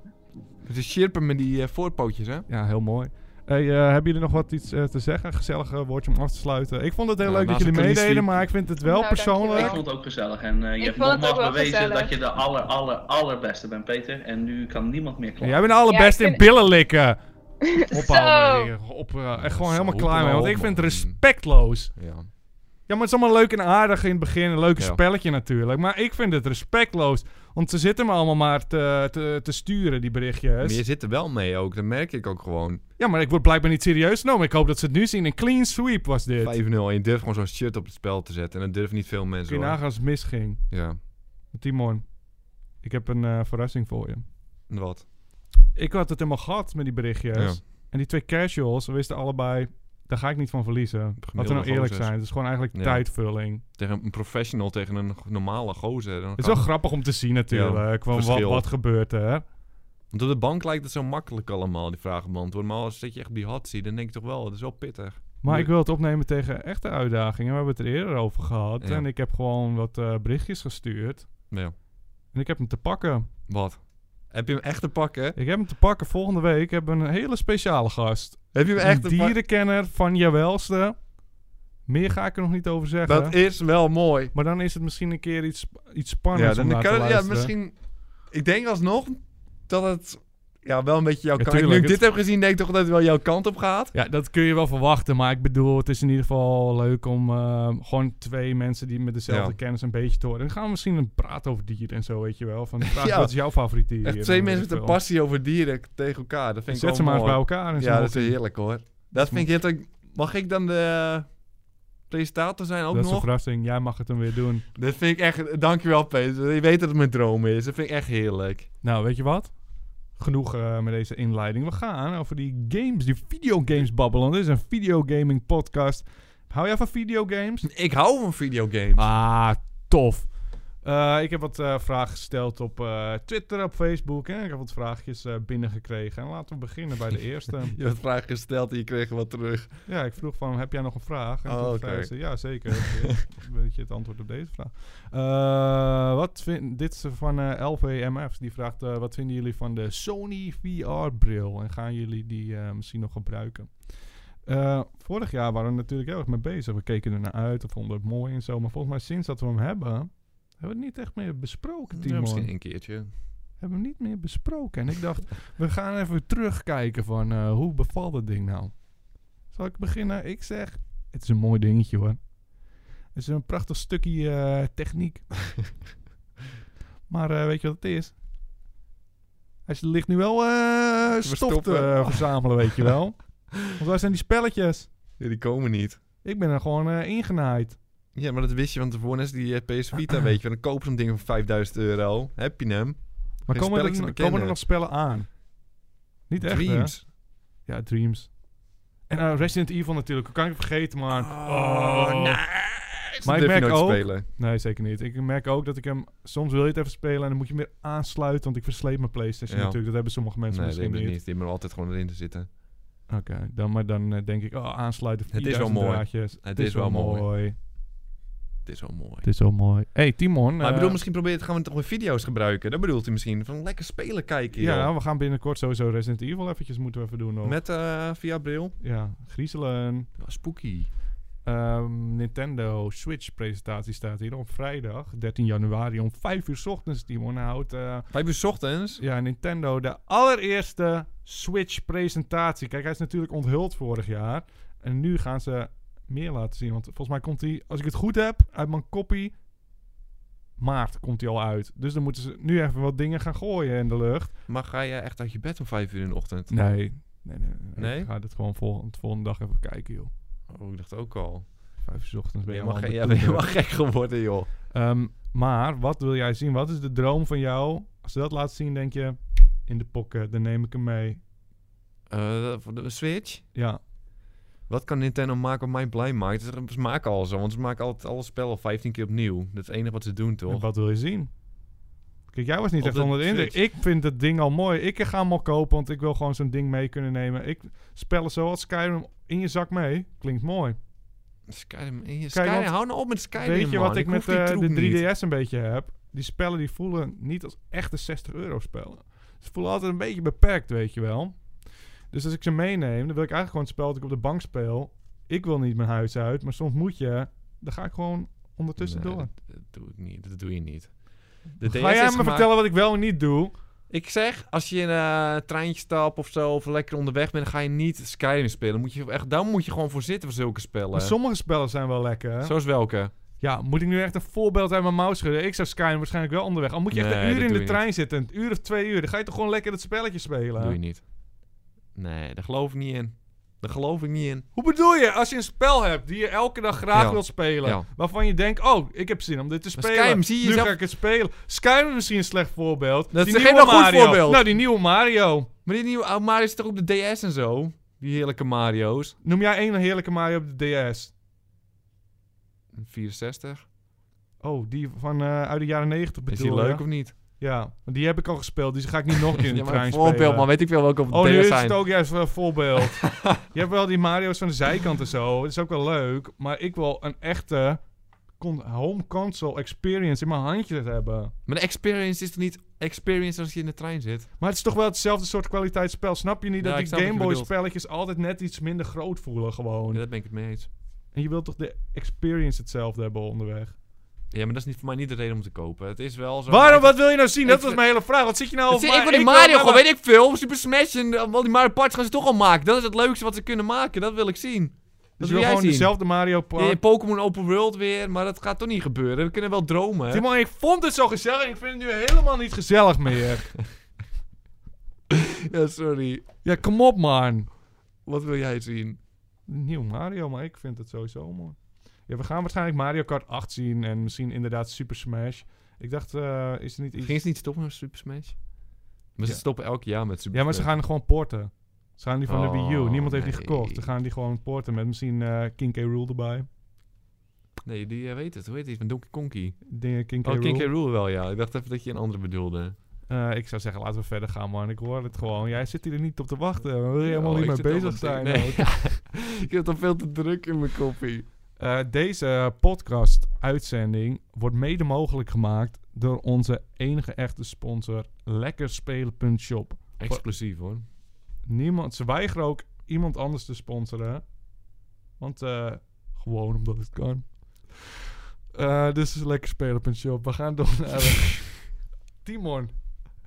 S2: Ze sjerpen met die eh, voorpootjes hè.
S1: Ja, heel mooi. Hey, eh, hebben jullie nog wat iets eh, te zeggen? Een gezellig eh, woordje om af te sluiten. Ik vond het heel
S2: Ja,
S1: leuk dat
S2: naast
S1: jullie
S2: de clean
S1: meededen,
S2: sweep.
S1: maar ik vind het wel
S4: Nou,
S3: Ik
S4: <laughs>
S1: persoonlijk.
S4: dankjewel.
S3: vond het ook gezellig. En eh, je
S4: Ik
S3: hebt
S4: vond het
S3: nogmaals
S4: ook wel
S3: bewezen
S4: gezellig.
S3: dat je de aller, aller, allerbeste bent, Peter. En nu kan niemand meer
S1: Ja,
S3: klagen.
S1: jij bent de allerbeste
S4: Ja, ik
S1: in billen likken.
S4: Zo.
S1: Ophouden. dingen. Op, eh, echt gewoon
S2: Zo,
S1: helemaal klaar mee.
S2: hoepla,
S1: Want ik vind het
S2: man.
S1: respectloos.
S2: Ja.
S1: Ja, maar het is allemaal leuk en aardig in het begin. Een leuk
S2: Ja.
S1: spelletje natuurlijk. Maar ik vind het respectloos. Want ze zitten me allemaal maar te, te, te sturen, die
S2: Maar je
S1: berichtjes.
S2: zit er wel mee ook, dat merk ik ook gewoon. 5-0
S1: Ja, maar ik word blijkbaar niet serieus genomen. Ik hoop dat ze het nu zien. Een clean sweep was dit.
S2: en je durft gewoon zo'n shirt op het spel te zetten. En dat durven niet veel mensen
S1: Kun je
S2: hoor.
S1: nagaan als het misging.
S2: Ja,
S1: Timon, ik heb een eh, verrassing voor je.
S2: wat?
S1: Ik had het helemaal gehad met die berichtjes.
S2: Ja.
S1: En die twee casuals, we wisten allebei... Daar ga ik niet van verliezen. Laten we nou eerlijk
S2: gozers.
S1: zijn. Het is gewoon eigenlijk
S2: Ja.
S1: tijdvulling.
S2: Tegen een professional, tegen een g- normale gozer. Dan
S1: Het is
S2: kan-
S1: wel grappig om te zien natuurlijk. want wat,
S2: verschil.
S1: wat gebeurt er?
S2: Want op de bank lijkt het zo makkelijk allemaal, die vragen beantwoorden. Maar als zit je echt op die hot ziet, dan denk ik toch wel, dat is wel pittig.
S1: Maar
S2: Nu-
S1: ik wil het opnemen tegen echte uitdagingen. We hebben het er eerder over gehad.
S2: Ja.
S1: En ik heb gewoon wat eh, berichtjes gestuurd.
S2: Ja.
S1: En ik heb hem te pakken.
S2: Wat? Heb je hem echt te pakken?
S1: Ik heb hem te pakken volgende week. Hebben we een hele speciale gast.
S2: Heb je hem echt
S1: een
S2: te pakken?
S1: dierenkenner van Jawelste. Meer ga ik er nog niet over zeggen.
S2: Dat is wel mooi.
S1: Maar dan is het misschien een keer iets, iets
S2: Ja,
S1: spannends om
S2: dan
S1: naar
S2: kan
S1: te
S2: het, ja,
S1: luisteren.
S2: misschien... Ik denk alsnog dat het ja, wel een beetje jouw
S1: Ja,
S2: kant... Nu
S1: tuurlijk,
S2: ik dit
S1: het-
S2: heb gezien, denk ik toch dat het wel jouw kant op gaat.
S1: Ja, dat kun je wel verwachten. Maar ik bedoel, het is in ieder geval leuk om eh, gewoon twee mensen die met dezelfde
S2: Ja.
S1: kennis een beetje te horen. Dan gaan we misschien een praten over dieren en zo, weet je wel.
S2: <laughs>
S1: Van, vraag,
S2: Ja.
S1: Wat is jouw favoriete dier?
S2: Echt twee
S1: En weet
S2: mensen met
S1: ik
S2: een
S1: veel.
S2: passie over dieren tegen elkaar. Dat vind
S1: Zet
S2: ik wel
S1: ze maar eens bij
S2: mooi.
S1: elkaar. En
S2: Ja, dat is heerlijk hoor. Dat vind ik heerlijk. Mag ik dan de eh, presentator zijn ook
S1: dat is een
S2: nog?
S1: verrassing. Jij mag het hem weer doen.
S2: Dat vind ik echt... Dankjewel Peter. Je weet dat het mijn droom is. Dat vind ik echt heerlijk.
S1: Nou, weet je wat? Genoeg eh, met deze inleiding. We gaan over die games, die videogames babbelen. Dit is een videogaming podcast. Hou jij van videogames?
S2: Ik hou van videogames.
S1: Ah, tof. Eh, ik heb wat eh, vragen gesteld op eh, Twitter, op Facebook. En ik heb wat vraagjes eh, binnengekregen. En laten we beginnen <laughs> bij de eerste.
S2: Je hebt vragen gesteld en je kreeg wat terug.
S1: Ja, ik vroeg van, heb jij nog een vraag? En
S2: Oh,
S1: toen
S2: oké.
S1: zei ze, ja,
S2: <laughs>
S1: zeker. Ik Weet je het antwoord op deze vraag? Eh, wat vind, dit is van eh, LVMF's. Die vraagt, eh, wat vinden jullie van de Sony VR-bril? En gaan jullie die eh, misschien nog gebruiken? Eh, vorig jaar waren we natuurlijk heel erg mee bezig. We keken er naar uit, we vonden het mooi en zo. Maar volgens mij sinds dat we hem hebben, hebben we het niet echt meer besproken, Timon.
S2: Ja, misschien een keertje.
S1: Hebben we hem niet meer besproken. En ik dacht, we gaan even terugkijken van eh, hoe bevalt het ding nou? Zal ik beginnen? Ik zeg, het is een mooi dingetje hoor. Het is een prachtig stukje eh,
S2: <laughs>
S1: techniek. maar eh, weet je wat het is? Hij ligt nu wel eh stof te
S2: stoppen.
S1: eh, <laughs> verzamelen, weet je wel.
S2: <laughs>
S1: Want waar zijn die spelletjes?
S2: Ja, die komen niet.
S1: Ik ben er gewoon eh, ingenaaid.
S2: Ja, maar dat wist je, want tevoren is die eh, PS Vita, weet je. Dan koop je zo'n ding voor 5000 euro. Heb je hem?
S1: Maar
S2: Geen
S1: komen
S2: spelletjes
S1: er,
S2: te
S1: komen er
S2: bekennen.
S1: nog spellen aan? Niet echt, hè?
S2: Dreams.
S1: Ja, Dreams. En eh, Resident Evil natuurlijk, kan ik vergeten, maar...
S2: Oh, nice.
S1: Maar ik
S2: Dat durf
S1: merk
S2: je nooit te
S1: ook-
S2: spelen.
S1: Nee, zeker niet. Ik merk ook dat ik hem... Soms wil je het even spelen en dan moet je hem weer aansluiten, want ik versleep mijn Playstation
S2: Ja.
S1: natuurlijk. Dat hebben sommige mensen
S2: Nee, die
S1: misschien
S2: hebben
S1: niet.
S2: het niet. Die hebben er altijd gewoon erin te zitten.
S1: Oké, dan, maar dan eh, denk ik, oh, aansluiten,
S2: Het is wel
S1: 4000
S2: mooi.
S1: draadjes. Het,
S2: is wel mooi. Het is wel mooi.
S1: Het is wel mooi. hey, Timon.
S2: Maar ik
S1: eh,
S2: bedoel, misschien probeert gaan we toch weer video's gebruiken. Dat bedoelt hij misschien. Van lekker spelen kijken,
S1: Ja,
S2: joh.
S1: nou, we gaan binnenkort sowieso Resident Evil eventjes moeten we even doen. Nog.
S2: Met eh, via bril.
S1: Ja, griezelen.
S2: Ja, spooky.
S1: Ehm, Nintendo Switch presentatie staat hier op vrijdag, 13 januari om 5 uur 's ochtends, Timon. Nou, houdt... eh,
S2: Vijf uur 's ochtends.
S1: ja, Nintendo de allereerste Switch-presentatie. Kijk, hij is natuurlijk onthuld vorig jaar. En nu gaan ze meer laten zien. Want volgens mij komt hij, als ik het goed heb, uit mijn kopie. Maart komt hij al uit. Dus dan moeten ze nu even wat dingen gaan gooien in de lucht.
S2: Maar ga je echt uit je bed om vijf uur in de ochtend?
S1: Nee. Nee, nee,
S2: Nee?
S1: Ik ga dat gewoon volgende, volgende dag even kijken, joh.
S2: Oh, ik dacht ook al.
S1: Vijf uur 's ochtends ben je
S2: Je
S1: <laughs>
S2: mag,
S1: helemaal
S2: ja, ben <laughs> je
S1: betoeterd.
S2: helemaal gek geworden, joh.
S1: Ehm, maar wat wil jij zien? Wat is de droom van jou? Als ze dat laat zien, denk je... In de pokken, dan neem ik hem mee.
S2: Eh, voor de Switch?
S1: Ja,
S2: Wat kan Nintendo maken wat mij blij maakt? Ze maken al zo, want ze maken altijd alle spellen 15 keer opnieuw. Dat is het enige wat ze doen,
S1: En
S2: toch?
S1: wat wil je zien? Kijk, jij was niet
S2: Op
S1: echt
S2: de
S1: onder de indruk.
S2: Switch.
S1: Ik vind het ding al mooi. Ik ga hem al kopen, want ik wil gewoon zo'n ding mee kunnen nemen. Ik spellen zoals Skyrim in je zak mee. Klinkt mooi.
S2: Skyrim, eh, Skyrim,
S1: want-
S2: hou nou op met Skyrim,
S1: Weet je
S2: man.
S1: wat ik, met
S2: hoef die
S1: eh,
S2: troep
S1: de
S2: niet.
S1: 3DS een beetje heb? Die spellen die voelen niet als echte 60 euro spellen. Ze voelen altijd een beetje beperkt, weet je wel. Dus als ik ze meeneem, dan wil ik eigenlijk gewoon het spel dat ik op de bank speel. Ik wil niet mijn huis uit, maar soms moet je. Dan ga ik gewoon ondertussen
S2: Nee,
S1: door.
S2: Dat, dat doe ik niet, dat doe je niet. De
S1: Ga
S2: DS
S1: jij me
S2: is gemaakt-
S1: vertellen wat ik wel en niet doe?
S2: Ik zeg, als je in eh, een treintje stapt of zo, of lekker onderweg bent, dan ga je niet Skyrim spelen. Moet je, echt, daar moet je gewoon voor zitten voor zulke spellen.
S1: Maar sommige spellen zijn wel lekker. hè?
S2: Zoals welke?
S1: Ja, moet ik nu echt een voorbeeld uit mijn mouw schudden? Ik zou Skyrim waarschijnlijk wel onderweg. Al moet je echt
S2: Nee,
S1: een uur
S2: dat
S1: in
S2: doe
S1: de
S2: je
S1: trein zitten, een uur of twee uur, dan ga je toch gewoon lekker dat spelletje spelen.
S2: Dat doe je niet. Nee, daar geloof ik niet in. Daar geloof ik niet in.
S1: Hoe bedoel je als je een spel hebt die je elke dag graag
S2: Ja.
S1: wilt spelen,
S2: Ja.
S1: waarvan je denkt, oh, ik heb zin om dit te
S2: Maar
S1: spelen.
S2: Skyrim zie je
S1: nu
S2: zelf-
S1: ga ik het spelen. Skyrim is misschien een slecht voorbeeld.
S2: Dat
S1: die
S2: is
S1: nieuwe
S2: geen goed
S1: Mario.
S2: voorbeeld.
S1: Nou, die nieuwe Mario.
S2: Maar die nieuwe oh, Mario is toch op de DS en zo? Die heerlijke Mario's.
S1: Noem jij één heerlijke Mario op de DS?
S2: 64.
S1: Oh, die van eh, uit de jaren 90
S2: Is
S1: bedoel
S2: die
S1: je?
S2: leuk of niet?
S1: Ja, want die heb ik al gespeeld, dus die ga ik niet nog
S2: <laughs>
S1: een keer in de
S2: Ja, maar
S1: trein
S2: een
S1: spelen.
S2: voorbeeld, maar weet ik veel welke op de
S1: Oh, nu
S2: DS
S1: is het
S2: zijn.
S1: ook juist wel een
S2: <laughs>
S1: voorbeeld. je hebt wel die Mario's van de zijkant en zo. Dat is ook wel leuk. Maar ik wil een echte con- home console experience in mijn handje hebben.
S2: Maar de experience is toch niet experience als je in de trein zit.
S1: Maar het is toch wel hetzelfde soort kwaliteitsspel. Snap je niet
S2: Ja,
S1: dat
S2: ik
S1: die
S2: snap wat je
S1: Game Boy
S2: bedoelt.
S1: spelletjes altijd net iets minder groot voelen gewoon.
S2: Ja, dat ben ik het mee eens.
S1: En je wilt toch de experience hetzelfde hebben onderweg.
S2: Ja, maar dat is niet, voor mij niet de reden om te kopen. Het is wel zo.
S1: Waarom?
S2: Ik-
S1: Wat wil je nou zien?
S2: ik
S1: Dat was
S2: vind-
S1: mijn hele vraag. Wat zit je nou
S2: Het
S1: over
S2: zit- ik wil die
S1: wil
S2: Mario gewoon,
S1: maar-
S2: weet ik veel. Super Smash en eh, al die Mario Parts gaan ze toch al maken. Dat is het leukste wat ze kunnen maken. Dat wil ik zien.
S1: Dus
S2: Dat
S1: je
S2: wil
S1: wil
S2: jij
S1: gewoon
S2: zien.
S1: dezelfde Mario Party.
S2: Ja, Pokémon Open World weer, maar dat gaat toch niet gebeuren. We kunnen wel dromen. Hè?
S1: Timon, ik vond het zo gezellig en ik vind het nu helemaal niet gezellig meer.
S2: Ja, sorry.
S1: ja, kom op man.
S2: Wat wil jij zien?
S1: Nieuw Mario, maar ik vind het sowieso mooi. Ja, we gaan waarschijnlijk Mario Kart 8 zien en misschien inderdaad Super Smash. Ik dacht, eh, is er niet iets...
S2: Gingen ze niet stoppen met Super Smash? Maar
S1: Ja.
S2: ze stoppen elk jaar met Super
S1: Ja, maar ze
S2: Smash.
S1: gaan gewoon porten. Ze gaan die van de Wii U.
S2: Oh,
S1: Niemand heeft die
S2: nee.
S1: gekocht. Ze gaan die gewoon porten met misschien eh King K. Rule erbij.
S2: Nee, die eh, weet het. Hoe heet die? Van Donkey Konky.
S1: Dingen King K.
S2: Oh,
S1: Rool.
S2: King K. Rool wel, ja. Ik dacht even dat je een andere bedoelde.
S1: Eh, ik zou zeggen, laten we verder gaan, man. Ik hoor het gewoon. Jij zit hier niet op te wachten. We willen
S2: Ja,
S1: helemaal
S2: Oh, ik
S1: niet mee
S2: zit
S1: bezig
S2: al met-
S1: zijn.
S2: Nee. <laughs>
S1: ook.
S2: ik heb toch veel te druk in mijn koffie.
S1: Eh, deze podcast-uitzending wordt mede mogelijk gemaakt door onze enige echte sponsor, lekkerspelen.shop.
S2: Exclusief hoor.
S1: Niemand, ze weigeren ook iemand anders te sponsoren. Want eh, gewoon omdat het kan. Eh dus is lekker spelen op een shop. We gaan door naar
S2: <laughs>
S1: eh, Timon.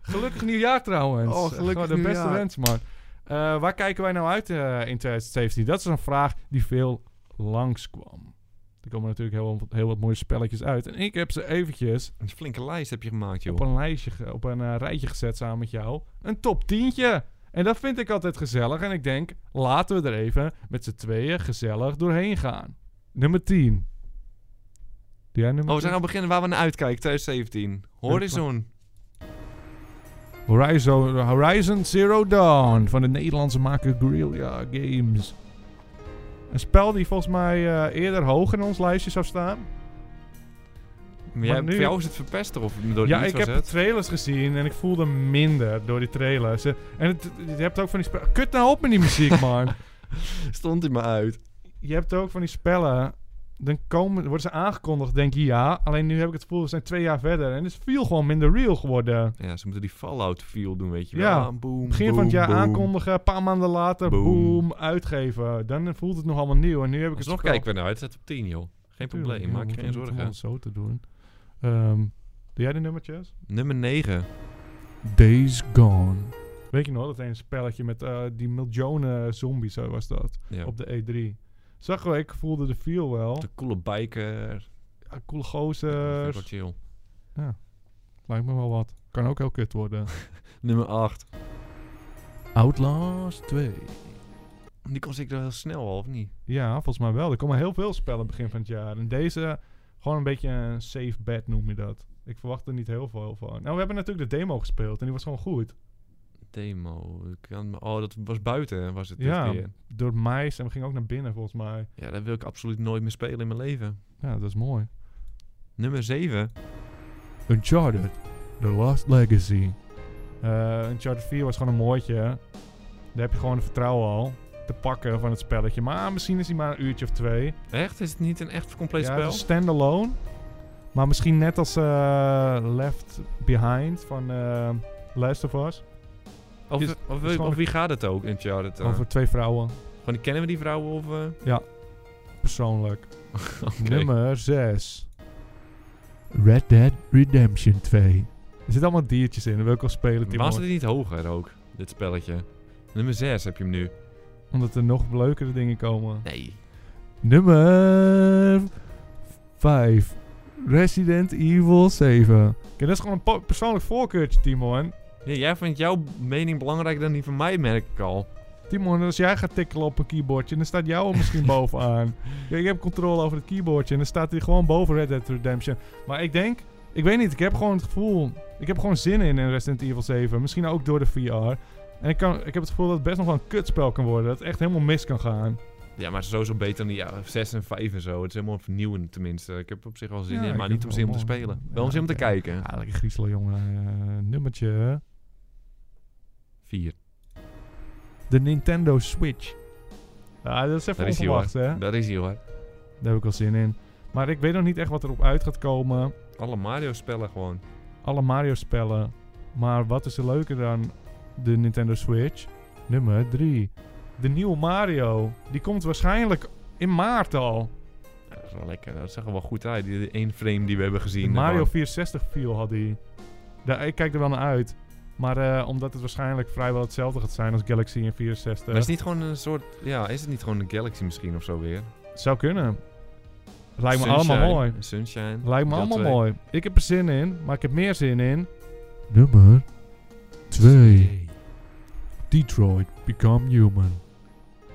S1: Gelukkig nieuwjaar trouwens.
S2: Oh, gelukkig
S1: Gewoon De beste
S2: nieuwjaar.
S1: wens, man. Eh, waar kijken wij nou uit eh, in 2017? Dat is een vraag die veel langskwam. Er komen natuurlijk heel, wat- heel wat mooie spelletjes uit. En ik heb ze eventjes
S2: Een flinke lijst heb je gemaakt, joh.
S1: op een lijstje, ge- op een eh, rijtje gezet samen met jou. Een top tientje. En dat vind ik altijd gezellig. En ik denk, laten we er even met z'n tweeën gezellig doorheen gaan. Nummer 10. Doe jij nummer
S2: Oh, we
S1: 10?
S2: zijn al beginnen waar we naar uitkijken, 2017. Horizon.
S1: Horizon, Horizon Zero Dawn van de Nederlandse maker Guerrilla Games. Een spel die volgens mij eh, eerder hoog in ons lijstje zou staan.
S2: Maar jij,
S1: Maar nu-
S2: Voor jou is het verpest of door
S1: Ja,
S2: die
S1: ik heb de trailers gezien en ik voelde minder door die trailers. Eh, En het, je hebt ook van die spel... Kut nou op met die muziek,
S2: <laughs>
S1: man.
S2: Stond hij maar uit.
S1: je hebt ook van die spellen. Dan komen, worden ze aangekondigd, denk je ja. Alleen nu heb ik het gevoel, we zijn twee jaar verder. En het is veel gewoon minder real geworden.
S2: Ja, ze moeten die Fallout feel doen, weet je wel.
S1: Ja.
S2: Ah, boom,
S1: Begin
S2: boom,
S1: van het jaar
S2: boom.
S1: aankondigen, een paar maanden later, boom.
S2: Boom.
S1: uitgeven. Dan voelt het nog allemaal nieuw. En nu heb ik het
S2: Alsnog
S1: spel-
S2: kijken we naar uit. Het staat op 10, joh. Geen probleem,
S1: Tuurlijk, ja,
S2: maak je
S1: moeten
S2: geen
S1: we moeten
S2: zorgen.
S1: ons zo te doen. Ehm, doe jij de nummertjes?
S2: Nummer 9.
S1: Days Gone. Weet je nog, dat ene spelletje met eh, die miljoenen zombies, zo was dat.
S2: Ja.
S1: Op de E3. Zag wel, ik voelde de feel wel.
S2: De coole biker.
S1: Ja, coole
S2: Dat vind ik
S1: gozers.
S2: wel chill.
S1: Lijkt me wel wat. Kan ook heel kut worden.
S2: Nummer 8.
S1: <laughs> Outlast 2.
S2: Die kon ik er heel snel al, of niet?
S1: Ja, volgens mij wel. Er komen heel veel spellen begin van het jaar. En deze, gewoon een beetje een safe bet noem je dat. Ik verwacht er niet heel veel van. Nou, we hebben natuurlijk de demo gespeeld en die was gewoon goed.
S2: Demo. Ik kan- Oh, dat was buiten, was het dit
S1: Ja.
S2: keer.
S1: Door mais en we gingen ook naar binnen volgens mij.
S2: Ja, dat wil ik absoluut nooit meer spelen in mijn leven.
S1: Ja, dat is mooi.
S2: Nummer 7.
S1: Uncharted, The Lost Legacy. Eh, Uncharted 4 was gewoon een mooitje. Daar heb je gewoon het vertrouwen al te pakken van het spelletje. Maar misschien is hij maar een uurtje of twee.
S2: Echt? Is het niet een echt compleet
S1: ja,
S2: spel?
S1: het is standalone. Maar misschien net als eh, Left Behind van eh Last of Us.
S2: Of,
S1: Is-
S2: of, of,
S1: is gewoon-
S2: wie gaat het ook in Charlotte?
S1: Over twee vrouwen,
S2: Gewoon, die kennen we die vrouwen of... eh?
S1: <laughs> persoonlijk.
S2: Oké.
S1: Nummer 6. Red Dead Redemption 2. Er zitten allemaal diertjes in, dat wil ik wel spelen, Timon.
S2: Was het niet hoger ook, dit spelletje? Nummer 6 heb je hem nu.
S1: Omdat er nog leukere dingen komen.
S2: Nee.
S1: Nummer 5. Resident Evil 7. Oké, dat is gewoon een po- persoonlijk voorkeurtje, Timon.
S2: Ja, jij vindt jouw mening belangrijker dan die van mij, merk ik al.
S1: Timon, als jij gaat tikkelen op een keyboardje, dan staat jouw <laughs> misschien bovenaan. Ja, ik heb controle over het keyboardje en dan staat hij gewoon boven Red Dead Redemption. Maar ik denk, ik weet niet, ik heb gewoon het gevoel, ik heb gewoon zin in in Resident Evil 7. Misschien ook door de VR. En ik, kan, ik heb het gevoel dat het best nog wel een kutspel kan worden. Dat het echt helemaal mis kan gaan.
S2: Ja, maar sowieso beter dan die ja, 6 en 5 en zo. Het is helemaal vernieuwend tenminste. Ik heb op zich wel zin
S1: Ja,
S2: in,
S1: ik
S2: maar
S1: vind
S2: niet om
S1: het
S2: zin om
S1: wel
S2: te
S1: mooi.
S2: spelen.
S1: Ja,
S2: wel om zin om te
S1: oké.
S2: kijken.
S1: Ja, lekker griezel, jongen. Eh, nummertje.
S2: 4.
S1: De Nintendo Switch. Ja, dat is even
S2: Daar is hij hoor.
S1: onverwachts, hè. Daar
S2: Daar is hij hoor.
S1: heb ik wel zin in. Maar ik weet nog niet echt wat erop uit gaat komen.
S2: Alle Mario spellen gewoon.
S1: alle Mario-spellen. Maar wat is er leuker dan de Nintendo Switch? Nummer 3. De nieuwe Mario. Die komt waarschijnlijk in maart al.
S2: Ja, dat is wel lekker. Dat zag er wel goed uit. Die die één frame die we hebben gezien.
S1: De Mario
S2: Gewoon.
S1: 64 feel had hij. Daar, ik kijk er wel naar uit. Maar eh, omdat het waarschijnlijk vrijwel hetzelfde gaat zijn als Galaxy en 64.
S2: Maar is het niet gewoon een soort... Ja, is het niet gewoon een Galaxy misschien of zo weer?
S1: Zou kunnen. Lijkt me
S2: Sunshine.
S1: allemaal mooi.
S2: Sunshine.
S1: Lijkt me
S2: Deel
S1: allemaal
S2: twee.
S1: mooi. Ik heb er zin in, maar ik heb meer zin in. Nummer 2. Detroit Become Human.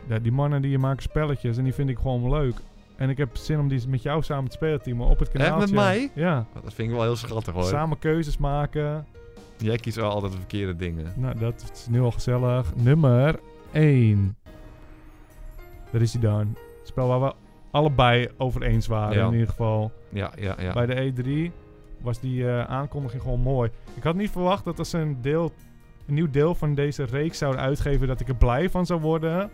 S1: Ja, die mannen die maken spelletjes en die vind ik gewoon leuk. En ik heb zin om die met jou samen te spelen, Timo, op het
S2: Echt, met
S1: kanaal.
S2: mij?
S1: Ja,
S2: Dat vind ik wel heel schattig hoor.
S1: samen keuzes maken.
S2: Jij kiest wel altijd de verkeerde dingen.
S1: Nou, dat is nu al gezellig. Nummer 1. Daar is hij dan. Het spel waar we allebei over eens waren,
S2: Ja.
S1: in ieder geval.
S2: Ja, ja, ja.
S1: Bij de E3 was die eh, aankondiging gewoon mooi. Ik had niet verwacht dat als ze een, deel, een nieuw deel van deze reeks zouden uitgeven, dat ik er blij van zou worden.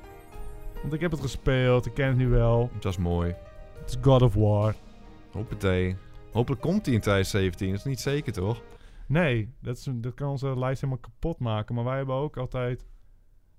S1: Want ik heb het gespeeld, ik ken het nu wel.
S2: Dat is mooi.
S1: Het is God of War.
S2: Hoppatee. Hopelijk komt hij in 2017. Dat is niet zeker toch?
S1: Nee, dat, is, dat kan onze lijst helemaal kapot maken. Maar wij hebben ook altijd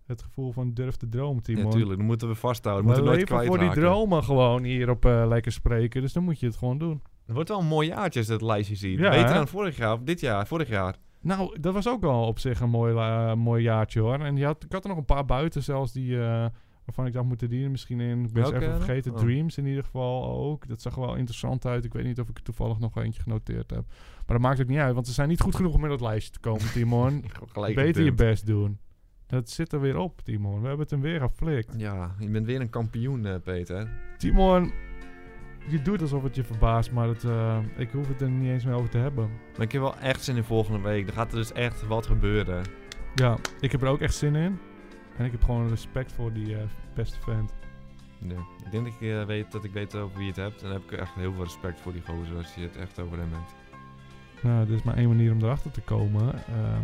S1: het gevoel van durf te dromen, Timo.
S2: Ja, tuurlijk. Dan moeten we vasthouden.
S1: We
S2: moeten we nooit
S1: leven voor
S2: kwijtraken.
S1: die dromen gewoon hier op eh, Lekker Spreken. Dus dan moet je het gewoon doen.
S2: Het wordt wel een mooi jaartje als je dat lijstje ziet.
S1: Ja,
S2: Beter
S1: hè?
S2: dan vorig jaar. Of dit jaar. Vorig jaar.
S1: Nou, dat was ook al op zich een mooi, eh, mooi jaartje hoor. En je had, ik had er nog een paar buiten zelfs die, eh, waarvan ik dacht, moeten die er misschien in? Ik ben ze
S2: Welke
S1: even
S2: dan?
S1: vergeten.
S2: Oh.
S1: Dreams in ieder geval ook. Dat zag er wel interessant uit. Ik weet niet of ik er toevallig nog eentje genoteerd heb. Maar dat maakt ook niet uit, want ze zijn niet goed genoeg om in dat lijstje te komen,
S2: <laughs>
S1: Timon.
S2: Ik heb gelijk
S1: Beter je
S2: gedumpt.
S1: best doen. Dat zit er weer op, Timon. We hebben het hem weer geflikt.
S2: Ja, je bent weer een kampioen, eh, Peter.
S1: Timon, je doet alsof het je verbaast, maar dat, eh, ik hoef het er niet eens meer over te hebben.
S2: Maar ik heb wel echt zin in volgende week. Er gaat er dus echt wat gebeuren.
S1: Ja, ik heb er ook echt zin in. En ik heb gewoon respect voor die eh, beste vent.
S2: Ja. Ik denk dat ik eh, weet dat ik weet over wie je het hebt. En dan heb ik echt heel veel respect voor die gozer als je het echt over hem hebt.
S1: Nou, er is maar één manier om erachter te komen. Ehm,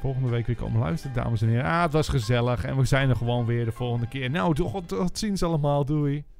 S1: volgende week weer komen luisteren, dames en heren. Ah, het was gezellig. En we zijn er gewoon weer de volgende keer. Nou, tot, tot ziens allemaal. Doei.